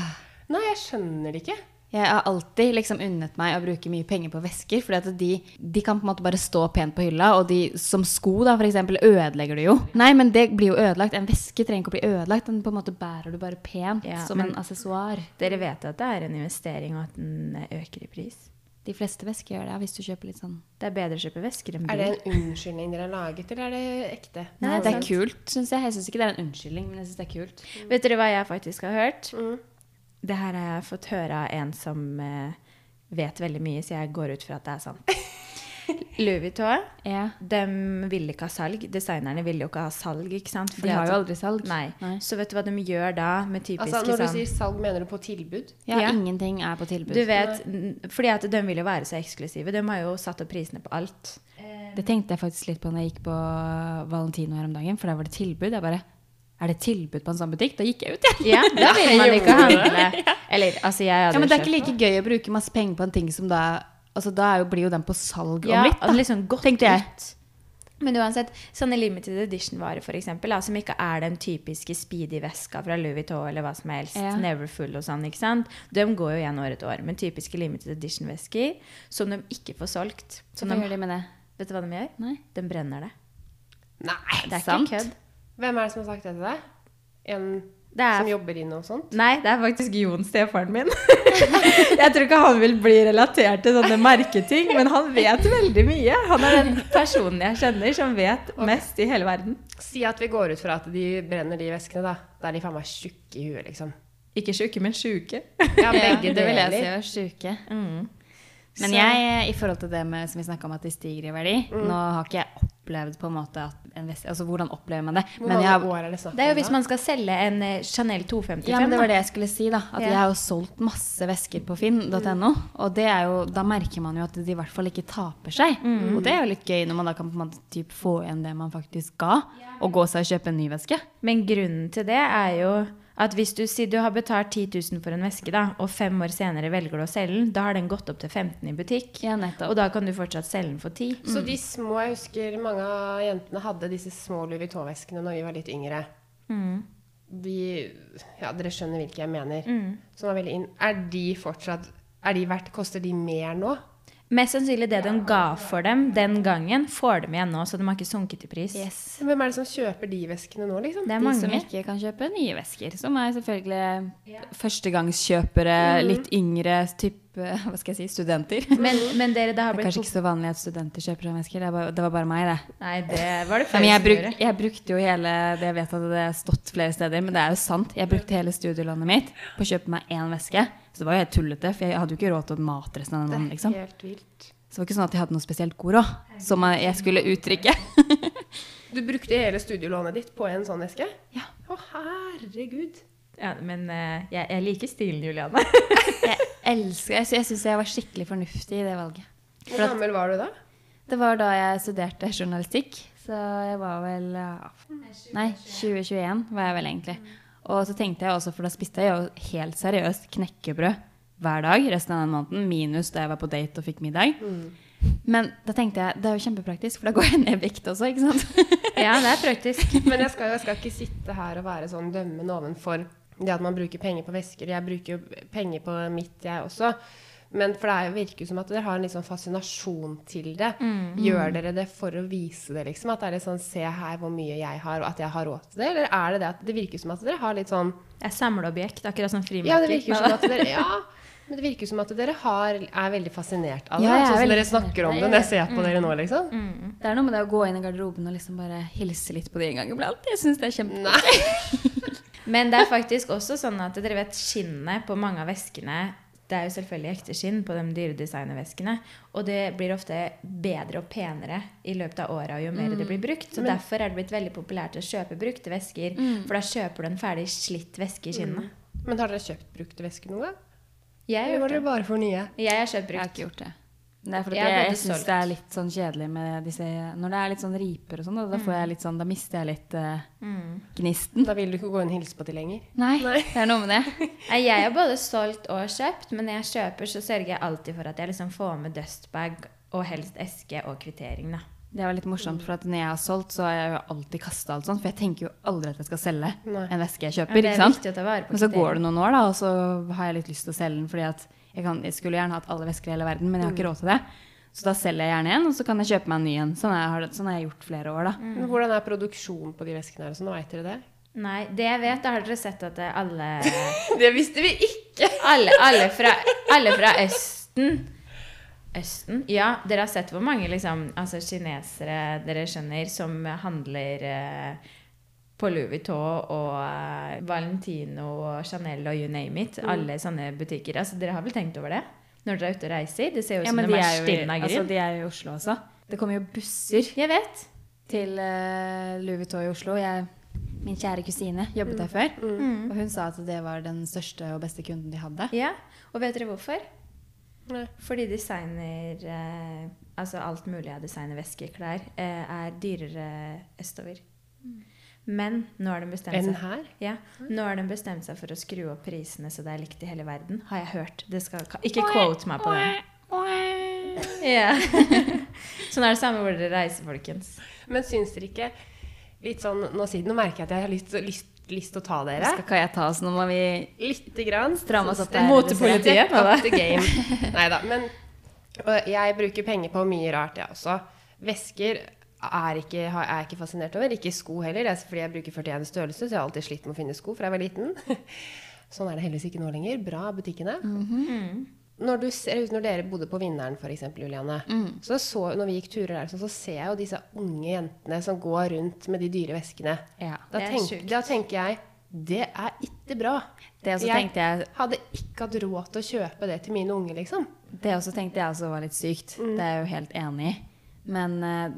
Speaker 3: nei, jeg skjønner det ikke.
Speaker 2: Jeg har alltid liksom unnet meg å bruke mye penger på vesker, fordi at de, de kan på en måte bare stå pent på hylla, og de som sko da, for eksempel, ødelegger du jo. Nei, men det blir jo ødelagt. En veske trenger ikke å bli ødelagt, den på en måte bærer du bare pent
Speaker 1: Ja,
Speaker 2: som
Speaker 1: men-
Speaker 2: en aksessoar.
Speaker 1: Dere vet at det er en investering, og at den øker i pris.
Speaker 2: De fleste vesker gjør det, hvis du kjøper litt sånn.
Speaker 1: Det er bedre å kjøpe vesker enn
Speaker 3: Er
Speaker 1: bil.
Speaker 3: det en unnskyldning dere har laget, eller er det ekte?
Speaker 2: Nei,
Speaker 1: Nei,
Speaker 2: det er
Speaker 1: sant.
Speaker 2: kult, synes jeg. Jeg synes ikke det er en unnskyldning, men jeg synes det er kult.
Speaker 1: Vet dere hva jeg faktisk har hørt?
Speaker 3: Mm.
Speaker 1: Det her har jeg fått høre av en som eh, vet veldig mye, så jeg går ut fra at det er
Speaker 3: <laughs>
Speaker 1: sant. Louis Vuitton,
Speaker 2: Ja.
Speaker 1: de ville ikke ha salg. Designerne ville jo ikke ha salg, ikke sant?
Speaker 2: De har jo
Speaker 1: at-
Speaker 2: aldri salg.
Speaker 1: Nei.
Speaker 2: Nei.
Speaker 1: Så vet du hva de gjør da med typiske
Speaker 3: Altså, når du
Speaker 1: sånn
Speaker 3: sier salg, mener du på tilbud?
Speaker 2: Ja,
Speaker 1: Ja.
Speaker 2: ingenting er på tilbud.
Speaker 1: Du vet, n- fordi at de vil jo være så eksklusive. De har jo satt opp prisene på alt.
Speaker 2: Det tenkte jeg faktisk litt på når jeg gikk på Valentino her om dagen, for der var det tilbud. Jeg bare Er det tilbud på en sånn butikk? Da gikk jeg ut, jeg.
Speaker 1: Ja, da vil man ikke
Speaker 3: <laughs>
Speaker 1: handle. Eller, altså, jeg hadde
Speaker 2: Ja, men det er
Speaker 1: kjøpt-
Speaker 2: ikke like gøy å bruke masse penger på en ting som da altså Da er jo, blir jo den på salg
Speaker 1: ja,
Speaker 2: om litt,
Speaker 1: og
Speaker 2: da.
Speaker 1: Liksom godt
Speaker 2: tenkte jeg.
Speaker 1: ut. Men uansett, sånne limited edition-varer for eksempel, da, som ikke er den typiske speedy-veska fra Louis Vuitton eller hva som helst,
Speaker 2: Ja.
Speaker 1: never full og sånn, ikke sant? De går jo igjen år etter år. Men typiske limited edition-vesker som de ikke får solgt.
Speaker 2: Så
Speaker 1: Som
Speaker 2: hva
Speaker 1: de,
Speaker 2: gjør de med det?
Speaker 1: vet du hva de gjør?
Speaker 2: Nei.
Speaker 1: De brenner det.
Speaker 3: Nei!
Speaker 1: Det er
Speaker 2: Sant.
Speaker 1: ikke kødd.
Speaker 3: Hvem er det som har sagt det til deg? En
Speaker 1: Det er
Speaker 3: som jobber sånn? i noe sånt?
Speaker 1: Nei, det er faktisk Jon, stefaren min. <laughs> Jeg tror ikke han vil bli relatert til sånne merketing, men han vet veldig mye. Han er den personen jeg kjenner som vet mest i hele verden.
Speaker 3: Si at vi går ut fra at de brenner de veskene, da. Da er de faen meg tjukke i huet, liksom.
Speaker 1: Ikke sjuke, men sjuke.
Speaker 2: Ja,
Speaker 3: Ja,
Speaker 2: det
Speaker 3: begge
Speaker 2: vil jeg si
Speaker 3: deler.
Speaker 2: var sjuke.
Speaker 1: <laughs> Mm.
Speaker 2: Men
Speaker 1: Så-
Speaker 2: jeg, i forhold til det med, som vi snakka om at de stiger i verdi Nå har ikke jeg opplevd på en måte at en vest, Altså hvordan opplever man det?
Speaker 3: Hvor
Speaker 2: Men jeg har,
Speaker 3: mange år er det snakk om?
Speaker 1: Det er jo hvis
Speaker 3: da?
Speaker 1: man skal selge en eh, Chanel 255.
Speaker 2: ja, men det var
Speaker 1: da.
Speaker 2: det jeg skulle si, da. At
Speaker 1: Ja.
Speaker 2: jeg har jo solgt masse vesker på finn.no. Og det er jo, da merker man jo at de i hvert fall ikke taper seg. Og det er jo litt gøy når man da kan på en måte typ få igjen det man faktisk ga, og gå seg og kjøpe en ny veske.
Speaker 1: Men grunnen til det er jo at hvis du sier du har betalt 10 000 for en veske, da, og fem år senere velger du å selge den, da har den gått opp til 15 i butikk.
Speaker 2: Ja, nettopp.
Speaker 1: Og da kan du fortsatt selge den for 10.
Speaker 3: Så de små, jeg husker mange av jentene hadde disse små Louis Vuitton-veskene når vi var litt yngre. De, ja, dere skjønner hvilke jeg mener. Som var veldig inn. Er de fortsatt er de verdt, Koster de mer nå?
Speaker 1: Mest sannsynlig det de ga for dem den gangen, får de igjen nå, så de har ikke sunket i pris.
Speaker 2: Yes.
Speaker 3: Hvem er det som kjøper de veskene nå, liksom?
Speaker 1: Det er
Speaker 2: De
Speaker 1: mange.
Speaker 2: som ikke kan kjøpe nye vesker. Som er selvfølgelig førstegangskjøpere, litt yngre type <laughs> Hva skal jeg si? Studenter. Det
Speaker 1: Men, men dere, det har
Speaker 2: er
Speaker 1: blitt
Speaker 2: kanskje ikke så vanlig at studenter kjøper sånne vesker. Det, er bare, det var bare meg, det.
Speaker 1: pop- Nei, det var det
Speaker 2: Nei,
Speaker 1: flere
Speaker 2: men jeg,
Speaker 1: som
Speaker 2: bruk,
Speaker 1: gjorde.
Speaker 2: jeg brukte jo hele det Jeg vet at det har stått flere steder, men det er jo sant. Jeg brukte hele studielånet mitt på å kjøpe meg én veske. Så det var jo helt tullete, for jeg hadde jo ikke råd til mat resten av den måneden. Liksom.
Speaker 3: Helt vilt.
Speaker 2: Så det var ikke sånn at jeg hadde noe spesielt god råd, som jeg skulle uttrykke.
Speaker 3: Du brukte hele studielånet ditt på en sånn veske?
Speaker 2: Ja.
Speaker 3: Å, herregud.
Speaker 1: Ja, men eh, jeg, jeg liker stilen, Juliane. <laughs>
Speaker 2: Jeg elsker Jeg, sy- jeg syns jeg var skikkelig fornuftig i det valget.
Speaker 3: Hvor gammel var du da?
Speaker 2: Det var da jeg studerte journalistikk, så jeg var vel ja, Nei, 2021 var jeg vel egentlig. Og så tenkte jeg også, for da spiste jeg jo helt seriøst knekkebrød hver dag resten av den måneden, minus da jeg var på date og fikk middag.
Speaker 1: Mm.
Speaker 2: Men da tenkte jeg det er jo kjempepraktisk, for da går jeg ned i vekt også, ikke sant?
Speaker 1: Ja, det er praktisk.
Speaker 3: Men jeg skal, jeg skal ikke sitte her og være sånn dømmende ovenfor det at man bruker penger på vesker. Jeg bruker jo penger på mitt, jeg også. Men for det er- virker jo som at dere har en litt sånn fascinasjon til det. Gjør dere det for å vise det, liksom? At det er litt sånn Se her hvor mye jeg har, og at jeg har råd til det? Eller er det det at det virker som at dere har litt sånn
Speaker 1: Det er samleobjekt, akkurat som frimerker.
Speaker 3: Ja, det virker som at <laughs> dere Ja. Men det virker som at dere har, er veldig fascinert av det.
Speaker 2: Ja, jeg er
Speaker 3: sånn som
Speaker 2: veldig
Speaker 3: dere snakker om det når jeg ser på dere nå, liksom.
Speaker 2: <laughs> Det er noe med det å gå inn i garderoben og liksom bare hilse litt på de en gang iblant. Jeg syns det er kjempe...
Speaker 1: Men det er faktisk også sånn at dere vet skinnet på mange av veskene Det er jo selvfølgelig ekte skinn på de dyre designerveskene. Og det blir ofte bedre og penere i løpet av åra jo mer det blir brukt. Så derfor er det blitt veldig populært å kjøpe brukte vesker. For da kjøper du en ferdig slitt veske i skinnet.
Speaker 3: Men har dere kjøpt brukte vesker noen gang?
Speaker 1: Jeg, har gjort
Speaker 3: Eller var dere
Speaker 1: Mm. det.
Speaker 3: bare for nye?
Speaker 1: jeg har kjøpt
Speaker 2: Jeg har
Speaker 1: brukt.
Speaker 2: ikke gjort det. Det er fordi
Speaker 1: Jeg
Speaker 2: jeg,
Speaker 1: ble
Speaker 2: jeg syns
Speaker 1: solgt.
Speaker 2: det er litt sånn kjedelig med disse Når det er litt sånn riper og sånn, da, da får jeg litt sånn Da mister jeg litt eh,
Speaker 1: Mm.
Speaker 2: gnisten.
Speaker 3: Da vil du ikke gå inn og hilse på de lenger.
Speaker 2: Nei, <laughs> det er noe med det.
Speaker 1: <laughs> Nei, Jeg har både solgt og kjøpt, men når jeg kjøper, så sørger jeg alltid for at jeg liksom får med dustbag og helst eske og kvittering. da.
Speaker 2: Det var litt morsomt, for at når jeg har solgt, så har jeg jo alltid kasta alt sånt. For jeg tenker jo aldri at jeg skal selge
Speaker 3: Nei.
Speaker 2: en veske jeg
Speaker 1: Men
Speaker 2: kjøper.
Speaker 1: det er
Speaker 2: ikke sant?
Speaker 1: viktig å ta vare på
Speaker 2: Men så går det noen år, da, og så har jeg litt lyst til å selge den fordi at jeg, kan, jeg skulle gjerne hatt alle vesker i hele verden, men jeg har ikke råd til det. Så da selger jeg gjerne en, og så kan jeg kjøpe meg en ny en. Sånn har jeg, har det- sånn har jeg gjort flere år, da.
Speaker 3: Men hvordan er produksjonen på de veskene her? og Sånn, Veit dere det?
Speaker 1: Nei, det jeg vet, da har dere sett at eh, alle
Speaker 3: <laughs> Det visste vi ikke!
Speaker 1: Alle, alle, fra, alle fra Østen Østen? Ja, dere har sett hvor mange liksom, altså, kinesere dere skjønner som handler eh, på Louis Vuitton og eh, Valentino og Chanel og you name it.
Speaker 2: Mm.
Speaker 1: Alle sånne butikker. Altså, dere har vel tenkt over det? Når dere er ute og reiser? Det ser jo ut
Speaker 2: Ja,
Speaker 1: som
Speaker 2: men
Speaker 1: de
Speaker 2: de
Speaker 1: er
Speaker 2: er, jo i,
Speaker 1: stinn av
Speaker 2: altså,
Speaker 1: grunn.
Speaker 2: de er jo i Oslo også. Det kommer jo busser
Speaker 1: Jeg vet.
Speaker 2: til eh, Louis Vuitton i Oslo. Jeg, min kjære kusine
Speaker 1: Mm.
Speaker 2: jobbet der før, og hun sa at det var den største og beste kunden de hadde.
Speaker 1: Ja. Og vet dere hvorfor?
Speaker 3: Nei.
Speaker 1: Fordi designer eh, Altså alt mulig av designervesker, klær, eh, er dyrere østover. Mm. Men nå har de bestemt
Speaker 3: Enn
Speaker 1: seg
Speaker 3: her?
Speaker 1: Ja. Nå har de bestemt seg for å skru opp prisene så det er likt i hele verden, har jeg hørt. Det skal, ka- ikke quote meg på det. Ja. <laughs> så nå er det samme hvor dere reiser, folkens.
Speaker 3: Men syns dere ikke litt sånn Nå, siden, nå merker jeg at jeg har lyst, lyst, lyst til å ta dere.
Speaker 2: Skal Kaja ta oss, nå må vi
Speaker 3: Lite grann.
Speaker 2: stramme oss opp
Speaker 1: det er Motepolitiet,
Speaker 3: Step
Speaker 1: hva da?
Speaker 3: up the game. <laughs> Neida, Men og jeg bruker penger på mye rart, jeg også. Vesker er ikke, har- er jeg ikke fascinert over. Ikke sko heller. Det er fordi jeg bruker 41 størrelse, så jeg har alltid slitt med å finne sko fra jeg var liten. <laughs> Sånn er det heldigvis ikke nå lenger. Bra butikkene.
Speaker 1: Mm.
Speaker 3: Når, du ser, ut- når dere bodde på Vinneren, f.eks., Juliane,
Speaker 2: Mm.
Speaker 3: så så, når vi gikk turer der, sånn, så ser jeg jo disse unge jentene som går rundt med de dyre veskene.
Speaker 2: Ja.
Speaker 3: Da,
Speaker 1: Det er
Speaker 3: tenk,
Speaker 1: sjukt.
Speaker 3: da tenker jeg det er ikke bra.
Speaker 2: Det også
Speaker 3: Jeg-
Speaker 2: tenkte jeg
Speaker 3: hadde ikke hatt råd til å kjøpe det til mine unger, liksom.
Speaker 2: Det også tenkte jeg også var litt sykt.
Speaker 1: Mm.
Speaker 2: Det er jeg jo helt enig i. Men eh,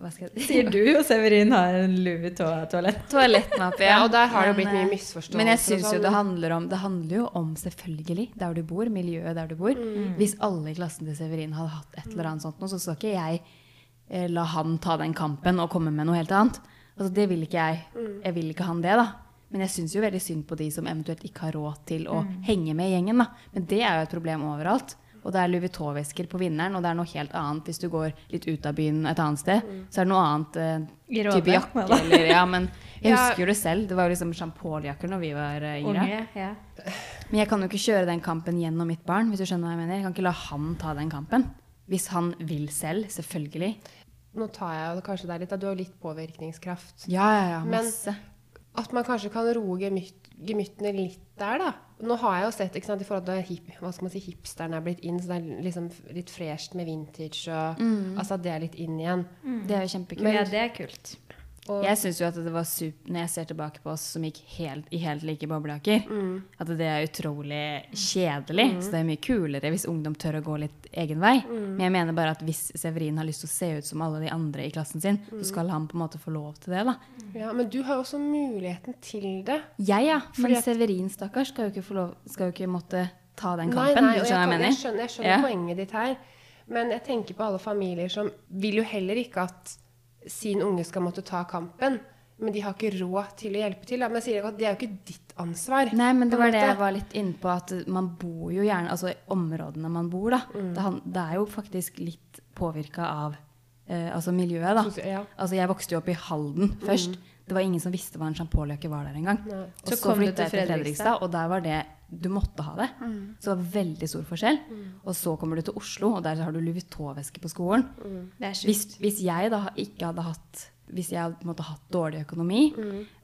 Speaker 2: hva skal jeg si?
Speaker 1: Sier du og Severin har en Louis Vuitton-toalett?
Speaker 2: Toalettmappe,
Speaker 3: <laughs> Ja, og der har det jo
Speaker 2: Men,
Speaker 3: blitt mye
Speaker 2: eh,
Speaker 3: misforståelser
Speaker 2: Men jeg
Speaker 3: og
Speaker 2: syns jo
Speaker 3: sånn.
Speaker 2: det handler om Det handler jo om, selvfølgelig, der du bor, miljøet der du bor.
Speaker 3: Mm.
Speaker 2: Hvis alle i klassen til Severin hadde hatt et eller annet sånt nå, så skal ikke jeg eh, la han ta den kampen og komme med noe helt annet. Altså, det vil ikke jeg.
Speaker 3: Mm.
Speaker 2: Jeg vil ikke han det, da. Men jeg syns jo veldig synd på de som eventuelt ikke har råd til å
Speaker 3: Mm.
Speaker 2: henge med i gjengen, da. Men det er jo et problem overalt. Og det er Louis Vuitton-vesker på vinneren, og det er noe helt annet hvis du går litt ut av byen et annet sted.
Speaker 3: Mm.
Speaker 2: Så er det noe annet eh,
Speaker 1: I Råde,
Speaker 2: type jakke
Speaker 1: hva da?
Speaker 2: eller Ja, men jeg
Speaker 3: Ja.
Speaker 2: husker jo det selv. Det var jo liksom sjampoljakker når vi var eh, yngre.
Speaker 1: Unge, ja.
Speaker 2: Men jeg kan jo ikke kjøre den kampen gjennom mitt barn, hvis du skjønner hva jeg mener. Jeg kan ikke la han ta den kampen. Hvis han vil selv, selvfølgelig.
Speaker 3: Nå tar jeg jo kanskje deg litt, da. Du har jo litt påvirkningskraft.
Speaker 2: Ja, ja, ja,
Speaker 3: Men-
Speaker 2: masse.
Speaker 3: At man kanskje kan roe gemytt, gemyttene litt der, da. Nå har jeg jo sett ikke sant, i forhold til hip, hva skal man si, hipsteren er blitt inn, så det er liksom litt fresht med vintage og
Speaker 2: Mm.
Speaker 3: Altså at det er litt inn igjen.
Speaker 2: det er jo kjempekult.
Speaker 1: ja, det er kult.
Speaker 3: Og
Speaker 2: Mm. Jeg syns jo at det var sup Når jeg ser tilbake på oss som gikk helt, i helt like boblejakker, at det er utrolig kjedelig. Så det er mye kulere hvis ungdom tør å gå litt egen vei. Men jeg mener bare at hvis Severin har lyst til å se ut som alle de andre i klassen sin, så skal han på en måte få lov til det, da.
Speaker 3: ja, men du har jo også muligheten til det.
Speaker 2: Jeg, ja.
Speaker 3: Fordi
Speaker 2: Men
Speaker 3: at-
Speaker 2: Severin, stakkars, skal jo ikke, få lov, skal jo ikke måtte ta den
Speaker 3: Nei,
Speaker 2: kampen.
Speaker 3: nei,
Speaker 2: du
Speaker 3: og
Speaker 2: skjønner hva jeg
Speaker 3: jeg,
Speaker 2: mener?
Speaker 3: jeg skjønner, jeg skjønner
Speaker 2: Ja.
Speaker 3: poenget ditt her. Men jeg tenker på alle familier som vil jo heller ikke at sin unge skal måtte ta kampen. Men de har ikke råd til å hjelpe til. da. Men jeg sier at det er jo ikke ditt ansvar.
Speaker 2: Nei, men
Speaker 3: på
Speaker 2: det
Speaker 3: en
Speaker 2: var det
Speaker 3: måte.
Speaker 2: jeg var litt inne på, at man bor jo gjerne Altså områdene man bor, da.
Speaker 3: Mm.
Speaker 2: Det, han, det er jo faktisk litt påvirka av eh, altså miljøet, da.
Speaker 3: Sosia- ja. Mm.
Speaker 2: Altså jeg vokste jo opp i Halden først. Det var ingen som visste hva en sjampoljakke var der engang.
Speaker 3: Nei.
Speaker 2: Og
Speaker 1: Så
Speaker 2: så,
Speaker 1: kom du
Speaker 2: flytta jeg
Speaker 1: til
Speaker 2: til
Speaker 1: Fredrikstad.
Speaker 2: Fredrikstad, og der var det Du måtte ha det.
Speaker 3: Mm.
Speaker 2: Så det var veldig stor forskjell. Og så kommer du til Oslo, og der har du Louis Vuitton-veske på skolen.
Speaker 3: Mm.
Speaker 1: Det er
Speaker 2: Hvis,
Speaker 1: sjukt.
Speaker 2: hvis jeg da ikke hadde hatt Hvis jeg hadde på en måte hatt dårlig økonomi,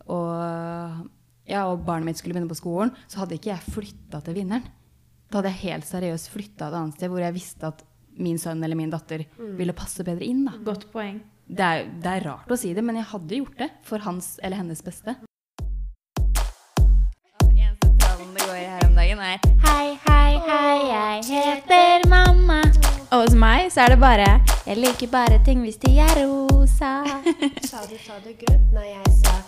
Speaker 2: og, ja, og barnet mitt skulle begynne på skolen, så hadde ikke jeg flytta til vinneren. Da hadde jeg helt seriøst flytta et annet sted hvor jeg visste at min sønn eller min datter ville passe bedre inn. Da.
Speaker 1: Godt poeng.
Speaker 2: Det, er, det er rart å si det, men jeg hadde gjort det for hans eller hennes beste.
Speaker 4: Eneste talen det går i her om dagen er Hei, hei, hei, jeg heter mamma.
Speaker 1: Og hos meg så er det bare Jeg liker bare ting hvis de er rosa.
Speaker 3: Sa du, sa du grønt? Nei, jeg sa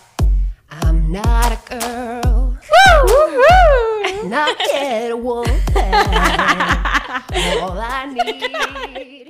Speaker 3: I'm not a girl. Not a woman. All I need